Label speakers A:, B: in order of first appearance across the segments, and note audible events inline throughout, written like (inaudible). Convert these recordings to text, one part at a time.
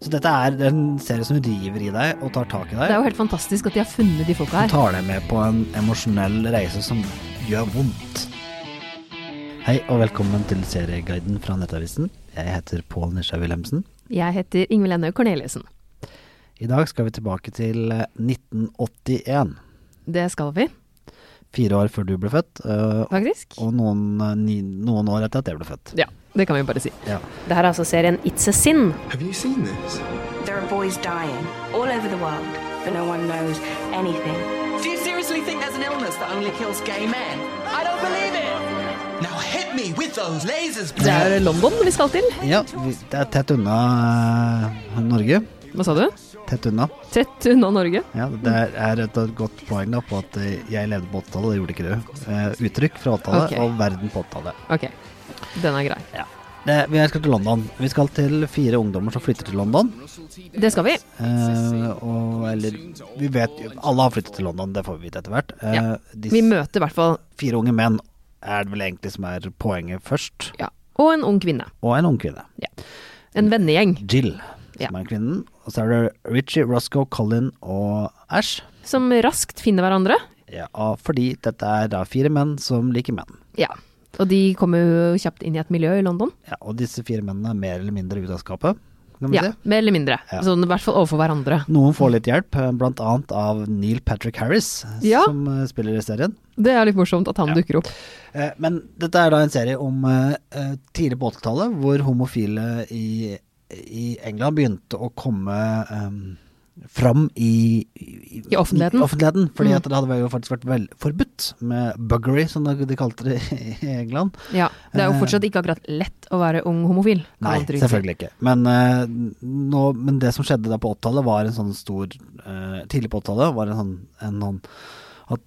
A: Så dette er en serie som river i deg og tar tak i
B: Det er
A: deg.
B: jo helt fantastisk at de har funnet de folka
A: Og
B: her.
A: tar deg med på en emosjonell reise som gjør vondt. Hei og velkommen til serieguiden fra Nettavisen. Jeg heter Pål Nisja Wilhelmsen.
B: Jeg heter Ingvild Ennøy Corneliussen.
A: I dag skal vi tilbake til eh, 1981.
B: Det skal vi,
A: Fire år før du ble født, eh,
B: faktisk.
A: og noen, eh, ni, noen år etter at jeg ble født.
B: Ja, det kan vi bare si.
A: Ja.
C: Det her er altså serien It's a Sin.
D: Have you seen this?
E: There are boys dying all over the world, but no one knows anything.
F: Do you seriously think there's an illness that only kills gay men? I don't believe it!
D: Now hit me with those lasers.
B: Det er London vi skal til.
A: Ja, vi, det er tett unna eh, Norge.
B: Hva sa du?
A: Tett unna.
B: Tett unna Norge.
A: Ja, det er et godt poeng da på at eh, jeg levde på 80-tallet, det gjorde ikke du. Eh, uttrykk fra 80-tallet
B: Ok.
A: og verden på 80-tallet.
B: Ok, den er grei.
A: Det, vi skal til London. Vi skal til fire ungdommer som flytter til London.
B: Det skal vi.
A: Eh, og eller Vi vet jo Alle har flyttet til London, det får vi vite etter hvert. Eh,
B: Ja.
A: De
B: Vi møter i hvert fall
A: fire unge menn er det vel egentlig som er poenget først.
B: ja, og en ung kvinne.
A: Og en ung kvinne.
B: En vennegjeng
A: Jill,
B: Ja.
A: som er kvinnen. Og så er det Richie, Roscoe, Colin og Ash.
B: som raskt finner hverandre.
A: Ja, og fordi dette er da fire menn som liker menn.
B: Ja, og de kommer jo kjapt inn i et miljø i London.
A: Ja, og disse fire mennene er mer eller mindre ute av skapet, kan vi
B: Ja,
A: si.
B: mer eller mindre.
A: Ja.
B: Sånn i hvert fall overfor hverandre.
A: Noen får litt hjelp, eh, blant annet av Neil Patrick Harris,
B: Ja.
A: som eh, spiller i serien.
B: Det er litt morsomt at han dukker opp.
A: Eh, Men dette er da en serie om eh, eh, tidlig på 80-tallet, hvor homofile i, i England begynte å komme eh, fram i,
B: I offentligheten.
A: i offentligheten fordi
B: Mm.
A: at det hadde jo faktisk vært vel forbudt med buggery, som de kalte det i England.
B: Ja, Det er jo fortsatt ikke akkurat lett å være ung homofil. kan
A: Eh. Nei,
B: man trygt si.
A: selvfølgelig ikke. Men, eh, nå, men det som skjedde da på 80-tallet, var en sånn stor eh, Tidlig på 80-tallet var en sånn, en sånn at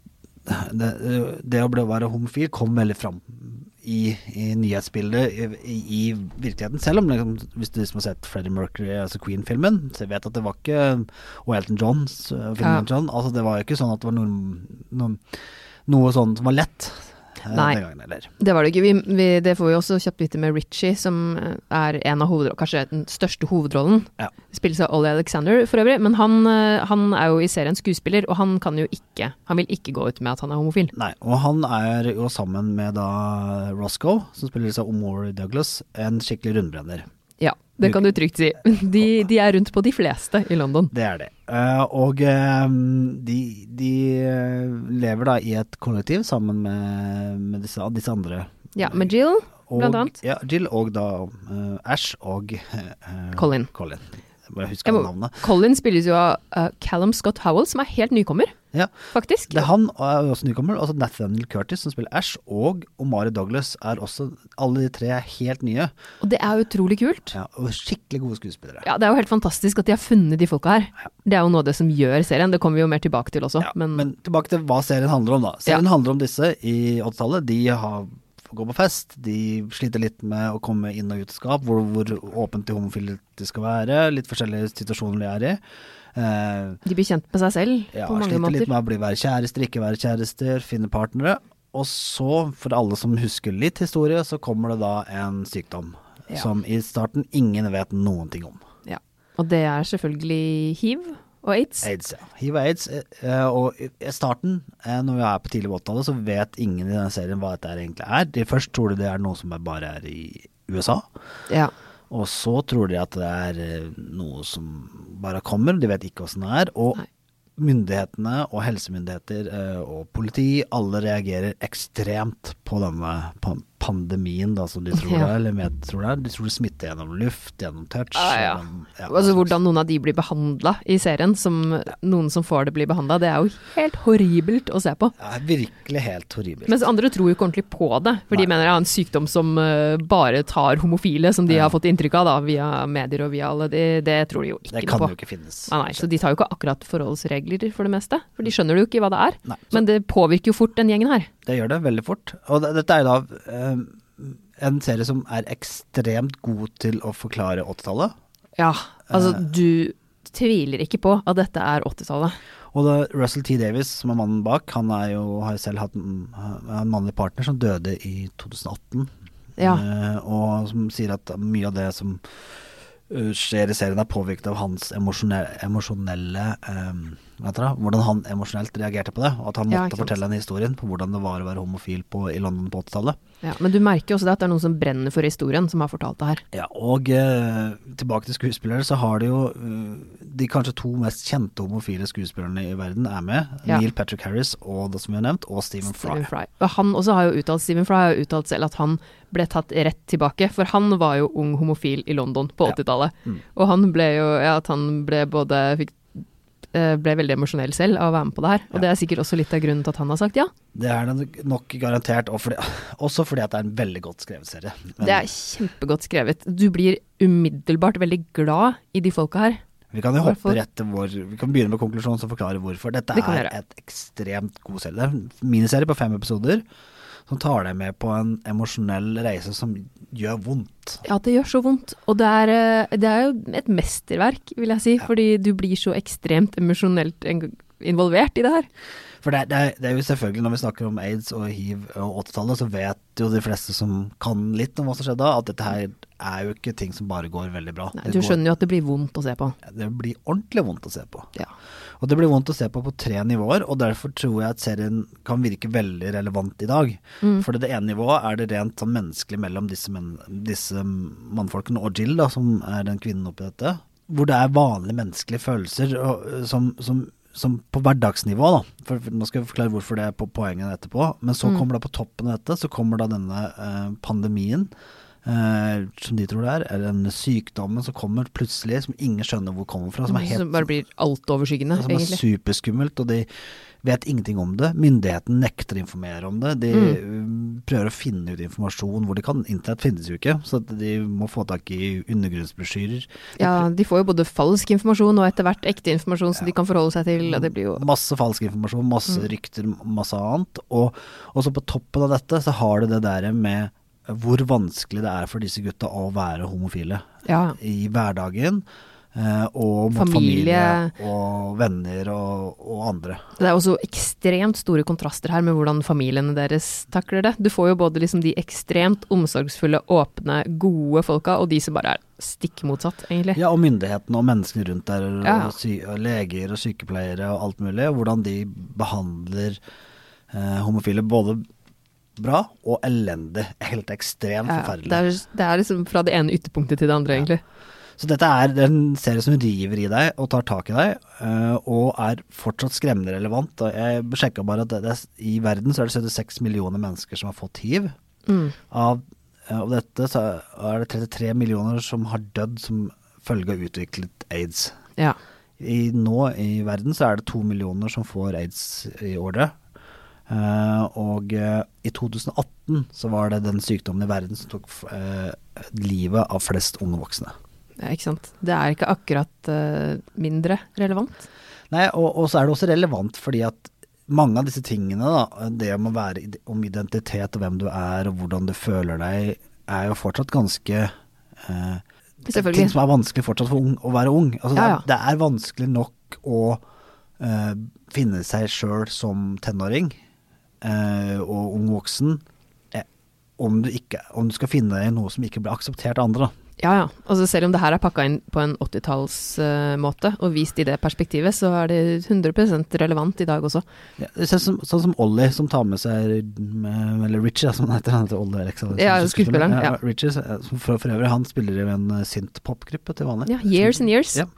A: det, det å bli, være homofil kom veldig fram i, i nyhetsbildet, i, i virkeligheten. Selv om liksom, hvis du som har sett Freddie Mercury, altså Queen-filmen, så vet at det var ikke Og Elton Johns eh, film
B: Ja.
A: Elton John, altså det var jo ikke sånn at det var noen, noen, noe sånt som var lett eh,
B: Nei.
A: den gangen heller.
B: Det var det ikke. Vi, vi, det får vi også kjapt vite med Richie, som eh, er en av hovedrollene, kanskje den største hovedrollen.
A: Ja.
B: Spilles av Ollie Alexander for øvrig, men han, eh, han er jo i serien skuespiller, og han kan jo ikke Han vil ikke gå ut med at han er homofil.
A: Nei, og han er jo sammen med da Roscoe, som spiller seg Omori Douglas, en skikkelig rundbrenner.
B: Ja, det kan du trygt si. (laughs) De, de er rundt på de fleste i London.
A: Det er det. Eh, og eh, de, de eh, lever da i et kollektiv sammen med, med disse, disse andre.
B: Ja, med Jill,
A: Og-
B: blant annet.
A: Ja, Jill og da eh, Ash og eh,
B: Colin.
A: Colin. Jeg bare
B: Jeg
A: husker
B: må,
A: navnet.
B: Colin spilles jo av eh, Callum Scott Howell, som er helt nykommer,
A: Ja.
B: faktisk.
A: Det er han og er også nykommer. Altså Nathaniel Curtis, som spiller Ash, og Omari Douglas er også Alle de tre er helt nye.
B: Og det er utrolig kult.
A: Ja, og skikkelig gode skuespillere.
B: Ja, Det er jo helt fantastisk at de har funnet de folka her. Det er jo noe av det som gjør serien, det kommer vi jo mer tilbake til også.
A: Ja,
B: men,
A: men, tilbake til hva serien handler om, da. Serien handler om disse i 80-tallet. De har, går på fest, de sliter litt med å komme inn og ut av skap, hvor, hvor åpent de homofile de skal være, litt forskjellige situasjoner de er i. Eh,
B: de blir kjent med seg selv
A: ja,
B: på mange
A: sliter litt
B: måter.
A: med å bli være kjærester, ikke være kjærester, finne partnere. Og så, for alle som husker litt historie, så kommer det da en sykdom
B: Ja.
A: som i starten ingen vet noen ting om.
B: Ja. Og det er selvfølgelig hiv og aids.
A: Aids, ja. Hiv og aids. eh, eh, Og i i starten, eh, når vi er på tidlig 80-tallet, så vet ingen i denne serien hva dette her egentlig er. De først tror de det er noe som er bare er i USA,
B: Ja.
A: og så tror de at det er eh, noe som bare kommer, de vet ikke åssen det er. Og
B: Nei.
A: myndighetene og helsemyndigheter eh, og politi, alle reagerer ekstremt på denne pan- pandemien da, som de tror det
B: Ja.
A: er, eller med, tror det er. De tror det smitter gjennom luft, gjennom touch.
B: Ah, ja.
A: gjennom- ja,
B: Altså
A: hva slags-
B: Hvordan noen av de blir behandla i serien, som noen som får det blir behandla, det er jo helt horribelt å se på.
A: ja, virkelig helt horribelt.
B: Mens andre tror jo ikke ordentlig på det, for
A: Nei.
B: de mener det er en sykdom som eh, bare tar homofile, som de har fått inntrykk av da, via medier og via alle. Det, det tror de jo ikke
A: Det
B: noe
A: kan
B: på.
A: jo ikke finnes.
B: Nei, nei, så de tar jo ikke akkurat forholdsregler for det meste, for de skjønner jo ikke hva det er.
A: Nei, så-
B: Men det påvirker jo fort den gjengen her.
A: Det gjør det veldig fort. Og det, dette er jo da eh, en serie som er ekstremt god til å forklare 80-tallet.
B: Ja, altså du tviler ikke på at dette er 80-tallet.
A: Og da Russell T. Davis, som er mannen bak, han er jo, har jo selv hatt en, er en mannlig partner som døde i 2018.
B: Ja.
A: Eh, og som sier at mye av det som eh, skjer i serien, er påvirket av hans emosjonelle, emosjonelle eh, hva heter det, Hvordan han emosjonelt reagerte på det. Og at han
B: Ja,
A: måtte
B: ikke sant.
A: fortelle en historien på hvordan det var å være homofil på, i London på 80-tallet.
B: Ja, men du merker jo også det at det er noen som brenner for historien, som har fortalt det her.
A: Ja, og eh, tilbake til skuespillere, så har de jo eh, De kanskje to mest kjente homofile skuespillerne i verden er med.
B: Ja.
A: Neil Patrick Harris og det som vi har nevnt, og Stephen Fry.
B: Stephen Fry. Og han også har jo uttalt, Stephen Fry har jo uttalt selv at han ble tatt rett tilbake, for han var jo ung homofil i London på 80-tallet. Og han ble jo, ja, at han ble både fikk, eh, ble veldig emosjonell selv av å være med på det her. Og det er sikkert også litt av grunnen til at han har sagt ja.
A: Det er den nok garantert, og fordi, (laughs) også fordi at det er en veldig godt skrevet serie. Men
B: Det er kjempegodt skrevet. Du blir umiddelbart veldig glad i de folka her.
A: vi kan jo hoppe
B: Hvorfor?
A: rett til vår Vi kan begynne med konklusjonen som forklarer hvorfor. Dette
B: Det kan vi
A: er
B: gjøre.
A: et ekstremt god serie. Det er en miniserie på fem episoder som tar deg med på en emosjonell reise som gjør vondt.
B: Ja, det gjør så vondt. Og det er, eh, det er jo et mesterverk, vil jeg si. Fordi du blir så ekstremt emosjonelt eng- involvert i det her.
A: For det, er- det, er- det er jo selvfølgelig, når vi snakker om aids og hiv og 80-tallet, så vet jo de fleste som kan litt om hva som skjedde da, at dette her er jo ikke ting som bare går veldig bra.
B: Nei,
A: Det
B: du
A: går-
B: skjønner jo at det blir vondt å se på.
A: Det blir ordentlig vondt å se på.
B: Ja.
A: Og det blir vondt å se på på tre nivåer, og derfor tror jeg at serien kan virke veldig relevant i dag. For det ene nivået er det rent sånn menneskelig mellom disse, menn- disse mannfolkene og Jill, da, som er den kvinnen oppi dette. Hvor det er vanlige menneskelige følelser og, øh, som, som, som på hverdagsnivå, da. For, for, nå skal jeg forklare hvorfor det er på poenget etterpå. Men så kommer da på toppen av dette, så kommer da denne øh, pandemien. øh, som de tror det er, eller den sykdommen som kommer plutselig, som ingen skjønner hvor kommer fra. Som er helt
B: Som bare blir altoverskyggende,
A: som er
B: egentlig.
A: superskummelt, og de vet ingenting om det. Myndigheten nekter å informere om det. De
B: Mm.
A: um, prøver å finne ut informasjon hvor de kan. Internett finnes jo ikke, så at de må få tak i undergrunnsbrosjyrer.
B: Ja, de får jo både falsk informasjon og etter hvert ekte informasjon som de kan forholde seg til, og det blir jo
A: Masse falsk informasjon, masse
B: Mm.
A: rykter, masse annet. Og, og så på toppen av dette så har du det der med hvor vanskelig det er for disse gutta å være homofile
B: Ja.
A: i hverdagen. eh, Og mot familie,
B: Familie.
A: og venner og, og andre.
B: Det er også ekstremt store kontraster her med hvordan familiene deres takler det. Du får jo både liksom de ekstremt omsorgsfulle, åpne, gode folka, og de som bare er stikk motsatt, egentlig.
A: Ja, og myndighetene og menneskene rundt der, og,
B: Ja.
A: sy og leger og sykepleiere og alt mulig, og hvordan de behandler eh, homofile både bra og elendig. Helt ekstremt
B: Ja,
A: forferdelig.
B: det, er, det er liksom fra det ene ytterpunktet til det andre, egentlig.
A: Så dette er en serie som river i deg og tar tak i deg, eh, og er fortsatt skremmende relevant. Og Jeg sjekka bare at det, det, er- i verden så er det 76 millioner mennesker som har fått hiv.
B: Mm.
A: Av, eh, av dette så er det 33 millioner som har dødd som følge av utviklet aids.
B: Ja.
A: I, nå i verden så er det to millioner som får aids i året. Eh, og eh, i 2018 så var det den sykdommen i verden som tok eh, livet av flest unge voksne.
B: ja, ikke sant. Det er ikke akkurat eh, mindre relevant.
A: Nei, og, og så er det også relevant fordi at mange av disse tingene, da, det om å være id- om identitet og hvem du er og hvordan du føler deg, er jo fortsatt ganske eh, ting
B: Selvfølgelig.
A: som er vanskelig fortsatt for ung, å være ung. Altså,
B: Ja,
A: Det,
B: ja.
A: er, det er vanskelig nok å eh, finne seg sjøl som tenåring eh, og ung voksen eh, om, du ikke, om du skal finne deg i noe som ikke blir akseptert av andre. da.
B: Ja, ja. Altså, selv om det her er pakka inn på en 80-tallsmåte og vist i det perspektivet, så er det 100 relevant i dag også.
A: Ja, det ser som, sånn som Ollie, som tar med seg med, Eller Richie, da, som han heter. Han heter Ollie Alexander.
B: Ja, skuespilleren, ja.
A: Richie, eh, som for, for øvrig, han spiller i en eh, synth-pop-gruppe til vanlig.
B: Ja, years and years.
A: Ja.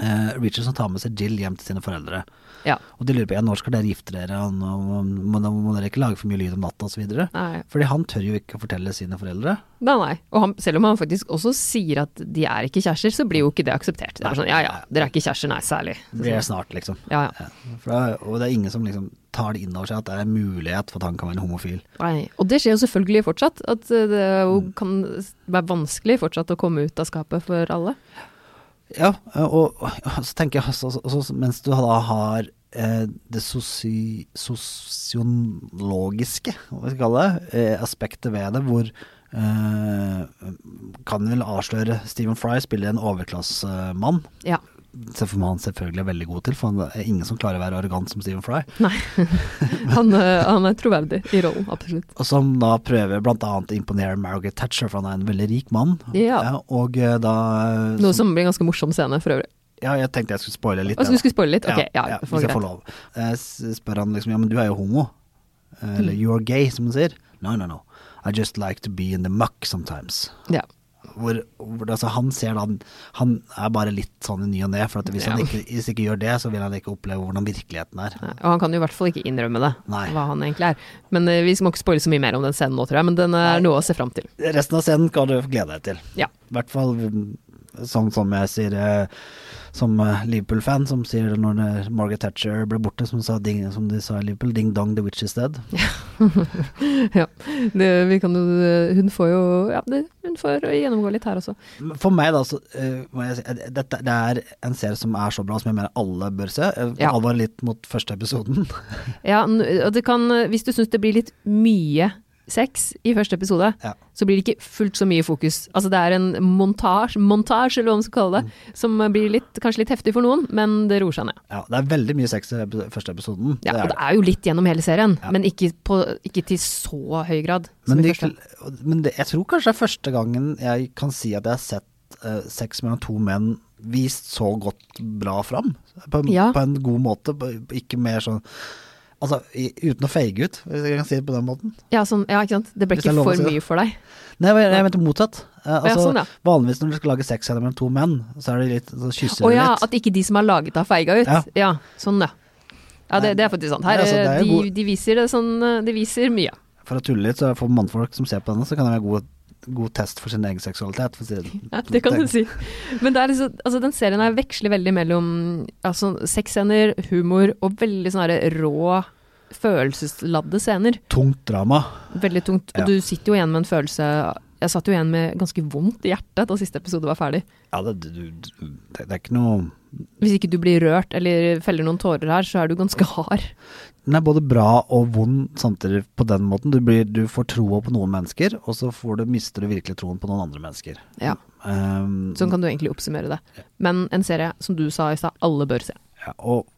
A: Eh, Richie som tar med seg Jill hjem til sine foreldre.
B: Ja.
A: Og de lurer på ja, når skal dere gifte dere, og nå må, må, må dere ikke lage for mye lyd om natta osv.
B: Nei.
A: Fordi han tør jo ikke å fortelle sine foreldre.
B: Nei, nei. Og han, selv om han faktisk også sier at de er ikke kjærester, så blir jo ikke det akseptert. Det er sånn, ja ja, dere er ikke kjærester, nei, særlig.
A: Det blir snart, liksom.
B: Ja, ja.
A: For da, og det er ingen som liksom tar det inn over seg at det er en mulighet for at han kan være homofil.
B: Nei. Og det skjer jo selvfølgelig fortsatt. At eh, det er jo
A: Mm.
B: kan være vanskelig fortsatt å komme ut av skapet for alle.
A: Ja, og, og så tenker jeg også, også, også mens du da har eh, det sosi, sosiologiske, hva skal vi kalle det, eh, aspektet ved det, hvor eh, kan vel avsløre Stephen Fry spiller en overklassemann.
B: Ja.
A: Seferman selvfølgelig er veldig god til, for han er ingen som klarer å være arrogant som Stephen Fry.
B: Nei. (laughs) Han, eh, han er troverdig i rollen, absolutt.
A: Og som da prøver blant annet å imponere Margaret Thatcher, for han er en veldig rik mann.
B: Ja.
A: og eh, da
B: Noe som blir en ganske morsom scene for øvrig.
A: Ja, jeg tenkte jeg skulle spoile litt.
B: Og så
A: jeg,
B: du skulle spoile litt? Ok, ja.
A: ja,
B: for
A: hvis jeg får
B: greit.
A: lov. Eh, s- spør han liksom Ja, men du er jo homo. Eh,
B: Mm.
A: Eller you are gay, som hun sier. No, no, no. I just like to be in the muck sometimes.
B: Ja.
A: Hvor, hvor altså, han ser da Han er bare litt sånn i ny og ne, for at hvis
B: Ja.
A: han ikke, hvis ikke gjør det, så vil han ikke oppleve hvordan virkeligheten er.
B: Nei, Og han kan jo i hvert fall ikke innrømme det,
A: Nei.
B: hva han egentlig er. Men eh, vi må ikke spoile så mye mer om den scenen nå, tror jeg, men den er noe å se fram til.
A: Resten av scenen kan du glede deg til.
B: Ja.
A: I hvert fall mm, sånn som jeg sier eh, som eh, Liverpool-fan, som sier det når eh, Margaret Thatcher ble borte, som, sa ding, som de sa i Liverpool, ding dong the witch is dead.
B: ja. Det, vi kan jo, eh, hun får jo ja, det, Hun får gjennomgå litt her også.
A: For meg, da, så eh, må jeg si eh, dette, Det er en serie som er så bra som jeg mener alle bør se. Eh,
B: Ja.
A: Alvor litt mot første episoden. (laughs)
B: Ja, n- og det kan, eh, hvis du syns det blir litt mye sex i første episode,
A: Ja.
B: så blir det ikke fullt så mye fokus. Altså det er en montasje, montasje eller hva man skal kalle det, som blir litt, kanskje litt heftig for noen, men det roer seg ned.
A: ja, det er veldig mye sex i epi- første episoden.
B: Ja,
A: det
B: og
A: er
B: det er jo litt gjennom hele serien,
A: Ja.
B: men ikke, på, ikke til så høy grad. Som
A: Men,
B: i
A: de,
B: første.
A: men det, jeg tror kanskje det er første gangen jeg kan si at jeg har sett eh, sex mellom to menn vist så godt bra fram. På, en-
B: Ja.
A: på en god måte, på, ikke mer sånn Altså i, uten å feige ut, hvis jeg kan si det på den måten.
B: Ja, sånn, ja, ikke sant. Det ble
A: Hvis det er
B: ikke
A: lov å
B: for
A: si det.
B: mye for deg.
A: Nei, jeg, jeg mente motsatt. Eh, altså,
B: sånn, ja.
A: Vanligvis når du skal lage sexscener mellom to menn, så er det litt, så kysser
B: Å
A: du
B: ja,
A: litt.
B: at ikke de som er laget har feiga ut. Ja,
A: Ja.
B: sånn ja. Ja, det, det er faktisk sant. Her,
A: Nei,
B: eh,
A: altså, det er jo
B: de,
A: god-
B: de viser det sånn eh, De viser mye.
A: For å tulle litt, så for mannfolk som ser på denne, så kan det være god, god test for sin egen seksualitet. For å si det. sånn.
B: Ja, det kan du si. Men det er liksom, altså, den serien her veksler veldig mellom altså, sexscener, humor og veldig sånne her rå, følelsesladde scener.
A: Tungt drama.
B: Veldig tungt. Og
A: Ja.
B: du sitter jo igjen med en følelse Jeg satt jo igjen med ganske vondt i hjertet da siste episode var ferdig.
A: Ja, det, du, du, det, det er ikke noe
B: Hvis ikke du blir rørt eller feller noen tårer her, så er du ganske hard.
A: Den er både bra og vond samtidig på den måten. Du, blir, du får troa på noen mennesker, og så får du, mister du virkelig troen på noen andre mennesker.
B: Ja.
A: Ehm,
B: Sånn kan du egentlig oppsummere det. Men en serie som du sa i stad, alle bør se.
A: ja, og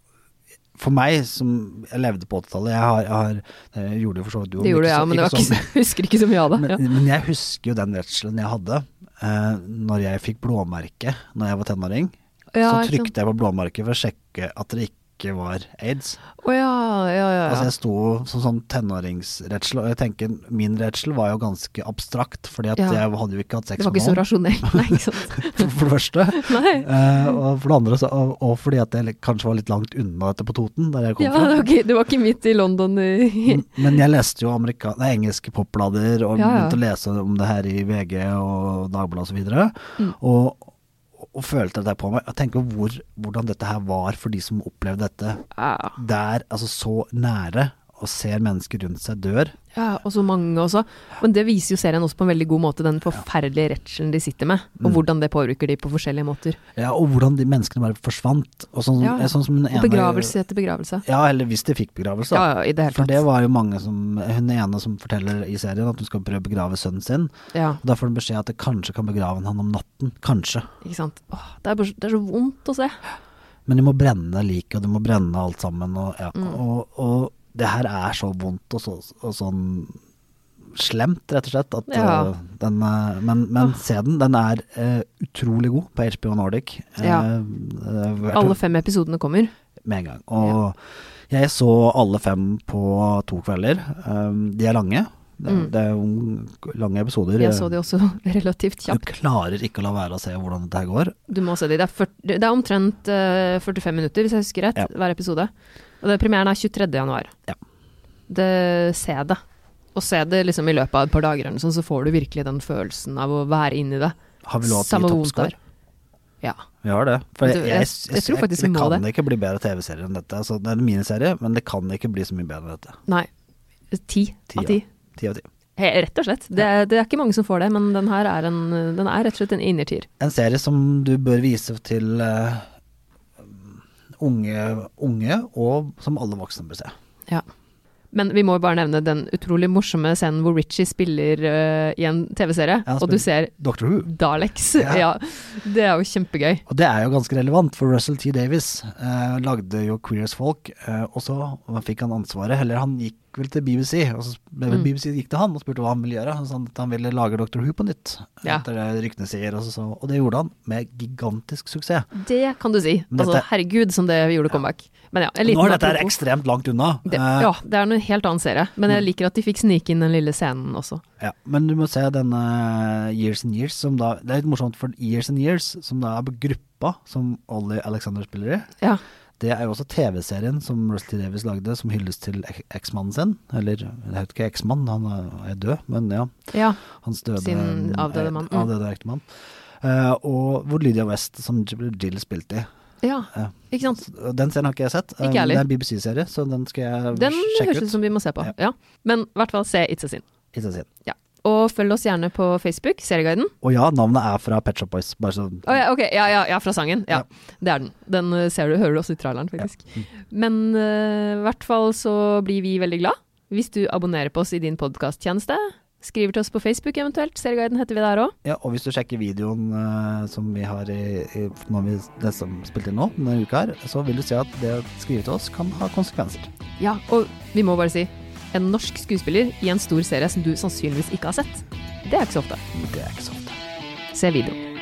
A: for meg, som jeg levde på 80-tallet jeg, har- jeg har- jeg gjorde det for så vidt du
B: Det gjorde jeg òg, men det var ikke, så- (laughs) husker ikke så mye av det.
A: Men,
B: Ja.
A: men jeg husker jo den redselen jeg hadde eh, når jeg fikk blåmerke når jeg var tenåring.
B: Ja,
A: så
B: ikke sant.
A: trykte jeg på blåmerket for å sjekke at det ikke var aids.
B: Å ja, ja, ja.
A: Altså
B: ja.
A: Jeg sto som sånn tenåringsredsel, og jeg tenker min redsel var jo ganske abstrakt, fordi at
B: Ja.
A: jeg hadde jo ikke hatt
B: Det
A: sex
B: var ikke så
A: med noen,
B: rasjonelt, (laughs) nei, ikke sant.
A: for, (laughs) for det første.
B: (laughs) Nei.
A: Eh, og for det andre, så, og, og fordi at jeg kanskje var litt langt unna dette på Toten, der jeg (laughs) kom
B: Ja,
A: fra.
B: det var, ikke, det var ikke midt i London i
A: Men jeg leste jo amerika nei, engelske popblader og
B: Ja, ja.
A: begynte å lese om det her i VG og Dagbladet osv. Og, så videre,
B: Mm.
A: og, og følte det der på meg. Jeg tenker hvor, hvordan dette her var for de som opplevde dette
B: ja.
A: der, altså så nære, og ser mennesker rundt seg dør.
B: ja, og så mange også. Men det viser jo serien også på en veldig god måte, den forferdelige redselen de sitter med,
A: Mm.
B: og hvordan det påvirker de på forskjellige måter.
A: Ja, og hvordan de menneskene bare forsvant. Og sånn,
B: Ja.
A: sånn som den
B: Og
A: ene
B: begravelse etter begravelse.
A: Ja, eller hvis de fikk begravelse. da.
B: Ja, ja, i det hele
A: For
B: tatt.
A: det var jo mange som Hun ene som forteller i serien at hun skal prøve å begrave sønnen sin.
B: Ja,
A: Og Da får hun beskjed at det kanskje kan begrave han om natten. Kanskje.
B: ikke sant. Åh, det, er bare, så- det er så vondt å se.
A: Men de må brenne liket, og de må brenne alt sammen. Og, ja.
B: Mm.
A: og, og det her er så vondt og, så, og sånn slemt, rett og slett. At,
B: Ja.
A: øh, den, er- men men se den. Den er eh, utrolig god på HBO Nordic. Eh,
B: Ja.
A: eh, hvert-
B: Alle fem episodene kommer.
A: Med en gang. Og jeg så alle fem på to kvelder. Um, de er lange. Det, det er jo lange episoder.
B: Jeg Mm. så de også (laughs) relativt
A: du
B: kjapt.
A: klarer ikke å la være å se hvordan dette her går.
B: Du må se de. Det er, ført- det er omtrent eh, 45 minutter, hvis jeg husker rett,
A: Ja.
B: hver episode. Og det, premieren er 23. januar.
A: Ja.
B: Det, se det. Og se det liksom i løpet av et par dager, eller noe sånt, så får du virkelig den følelsen av å være inni det.
A: Har vi lov til å gi
B: Samme hvor vondt
A: toppscore?
B: det er. Ja.
A: Vi har det. For
B: Vet
A: jeg,
B: du,
A: jeg,
B: jeg-
A: jeg,
B: jeg tror faktisk vi
A: det
B: må
A: kan
B: det.
A: ikke bli bedre TV-serier enn dette. Altså, det er en miniserie, men det kan ikke bli så mye bedre enn dette.
B: Nei. Ti
A: Ti,
B: av ti.
A: ja. Ti av ti.
B: He, rett og slett. Det, det er ikke mange som får det, men den her er, en, den er rett og slett en innertier.
A: En serie som du bør vise til eh, unge, unge, og som alle voksne bør se.
B: Ja. Men vi må jo bare nevne den utrolig morsomme scenen hvor Richie spiller eh, i en TV-serie,
A: Ja, han
B: og du
A: spiller
B: ser
A: Doctor Who.
B: Daleks.
A: Ja.
B: (laughs) Ja. Det er jo kjempegøy.
A: Og det er jo ganske relevant, for Russell T. Davis eh, lagde jo Queer as Folk, eh, og så fikk han ansvaret, eller han gikk vel til BBC, og så men
B: Mm.
A: BBC gikk til han og spurte hva han ville gjøre, og så han, at han ville lage Doctor Who på nytt,
B: Ja.
A: etter det ryktene sier, og, så, så- og det gjorde han med gigantisk suksess.
B: Det kan du si.
A: Men
B: Altså,
A: dette-
B: herregud, som det gjorde comeback. Men ja, en liten
A: Nå er dette her
B: apropos.
A: ekstremt langt unna.
B: det,
A: eh, Mm.
B: ja, det er en helt annen serie, men jeg liker at de fikk snike inn den lille scenen også.
A: Ja, men du må se denne Years and Years, som da Det er litt morsomt, for Years and Years, som da er gruppa som Ollie Alexander spiller i,
B: Ja,
A: det er jo også TV-serien som Rusty Davis lagde, som hylles til ek- eksmannen sin. Eller, jeg vet ikke eksmann, han er- er død, men ja.
B: ja.
A: Hans døde
B: Sin avdøde mann,
A: eh,
B: mm.
A: Avdøde ektemann. Eh, og hvor Lydia West, som Jill spilte i.
B: ja.
A: Ja.
B: Ikke sant.
A: Den serien har ikke jeg sett. eh,
B: Ikke jeg
A: det er
B: heller.
A: en BBC-serie, så den skal jeg
B: Den
A: sjekke
B: høres
A: ut.
B: ut som vi må se på.
A: Ja.
B: Ja. Men i hvert fall se It's a Sin.
A: Ikke sant.
B: Ja. Og følg oss gjerne på Facebook, Serieguiden.
A: Og ja, navnet er fra Pet Shop Boys, bare så
B: Å ja, ok, ja, ja, ja, fra sangen. Ja, det er den. Den eh, ser du, hører du også i traileren, faktisk.
A: Mm.
B: Men eh, i hvert fall så blir vi veldig glad hvis du abonnerer på oss i din podkasttjeneste. Skriver til oss på Facebook eventuelt. Serieguiden heter vi der òg.
A: Ja, og hvis du sjekker videoen eh, som vi har i, i når vi, det som spilte inn nå, denne uka her, så vil du se at det å skrive til oss kan ha konsekvenser.
B: Ja, og vi må bare si en norsk skuespiller i en stor serie som du sannsynligvis ikke har sett. Det er ikke så ofte.
A: Det er ikke så ofte.
B: Se videoen.